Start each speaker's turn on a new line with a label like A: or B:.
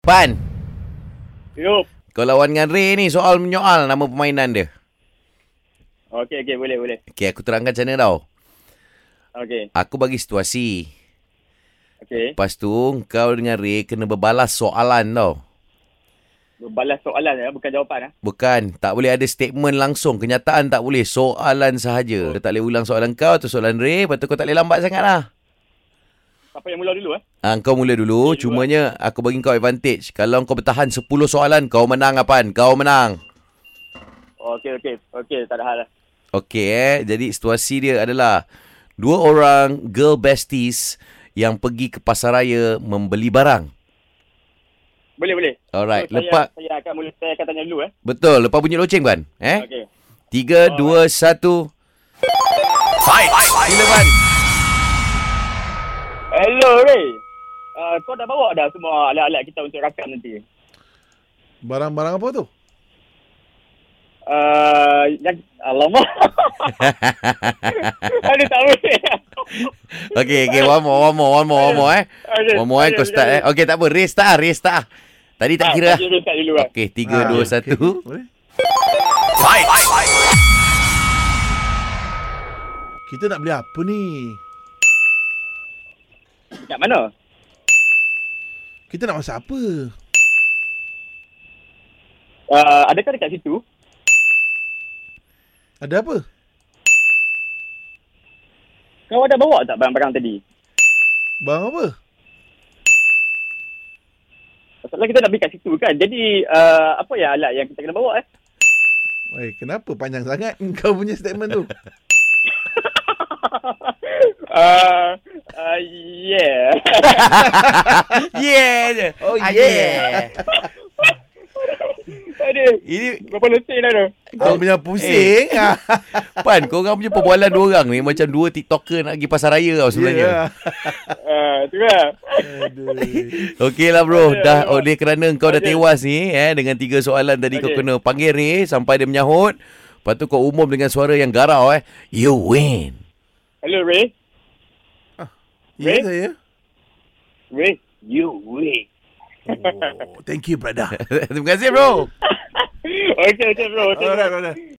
A: Fan,
B: Yup.
A: kau lawan dengan Ray ni soal menyoal nama permainan dia.
B: Okey, okey, boleh, boleh.
A: Okay, aku terangkan macam mana tau.
B: Okey,
A: Aku bagi situasi.
B: okey.
A: Lepas tu, kau dengan Ray kena berbalas soalan tau.
B: Balas soalan ya, bukan jawapan ah.
A: Bukan, tak boleh ada statement langsung. Kenyataan tak boleh. Soalan sahaja. Dia tak boleh ulang soalan kau atau soalan Ray. Lepas tu kau tak boleh lambat sangat lah.
B: Siapa yang mula dulu eh?
A: Ha, kau mula dulu.
B: Okey,
A: Cumanya aku bagi kau advantage. Kalau kau bertahan 10 soalan, kau menang Apan. Kau menang.
B: Okey, okey. Okey, tak ada hal lah.
A: Okey eh. Jadi situasi dia adalah dua orang girl besties yang pergi ke pasaraya membeli barang.
B: Boleh, boleh.
A: Alright,
B: So, saya,
A: lepas
B: saya akan mula saya akan tanya dulu eh.
A: betul, lepas bunyi loceng kan? Eh?
B: Okey.
A: Tiga, dua, satu. Fight! Sila Pan.
B: Hello, Ray. Uh, kau dah bawa dah semua alat-alat kita untuk rakam nanti.
C: Barang-barang apa tu?
B: Uh, yang alamak. Aduh, tak boleh.
A: Okay, okay, one more, one more, one more, one more eh.
B: Okey,
A: One more eh, kau
B: okey,
A: start eh.
B: okey.
A: Okay, tak apa, race tak ah, race tak ah. Tadi tak kira lah.
B: Ah, saya start dulu eh.
A: Okay,
C: Ah,
A: tiga, dua, satu.
C: Boleh?
A: Fight!
C: Kita nak beli apa ni?
B: Kat mana?
C: Kita nak masak apa?
B: Uh, adakah dekat situ?
C: Ada apa?
B: Kau ada bawa tak barang-barang tadi?
C: Barang apa?
B: Masalah kita nak pergi kat situ kan. Jadi uh, apa ya alat yang kita kena bawa eh?
C: Weh, Eh, kenapa panjang sangat kau punya statement tu?
B: uh, uh, yeah.
A: Yeah je.
C: Oh,
A: Ah,
C: yeah.
B: Aduh.
A: Ini
B: Berapa leting dah tu?
C: Kau punya pusing. ah.
A: Pan, korang punya perbualan dua orang ni macam dua TikToker nak pergi pasar raya tau sebenarnya. Yeah.
B: Uh, tu lah.
C: Aduh.
A: Okey lah bro,
B: Ada,
A: dah
B: ada.
A: oleh kerana kau dah
B: Ada.
A: tewas ni eh dengan tiga soalan tadi kau
B: Okey.
A: kena panggil Ray sampai dia menyahut. Lepas tu kau umum dengan suara yang garau eh. You win.
B: Hello, Ray.
C: Ya
B: Weh?
C: saya.
B: Ray, you win.
C: Oh, thank you brother.
A: Terima kasih bro.
B: okay, okay, bro. Okay, bro.
C: Alright brother.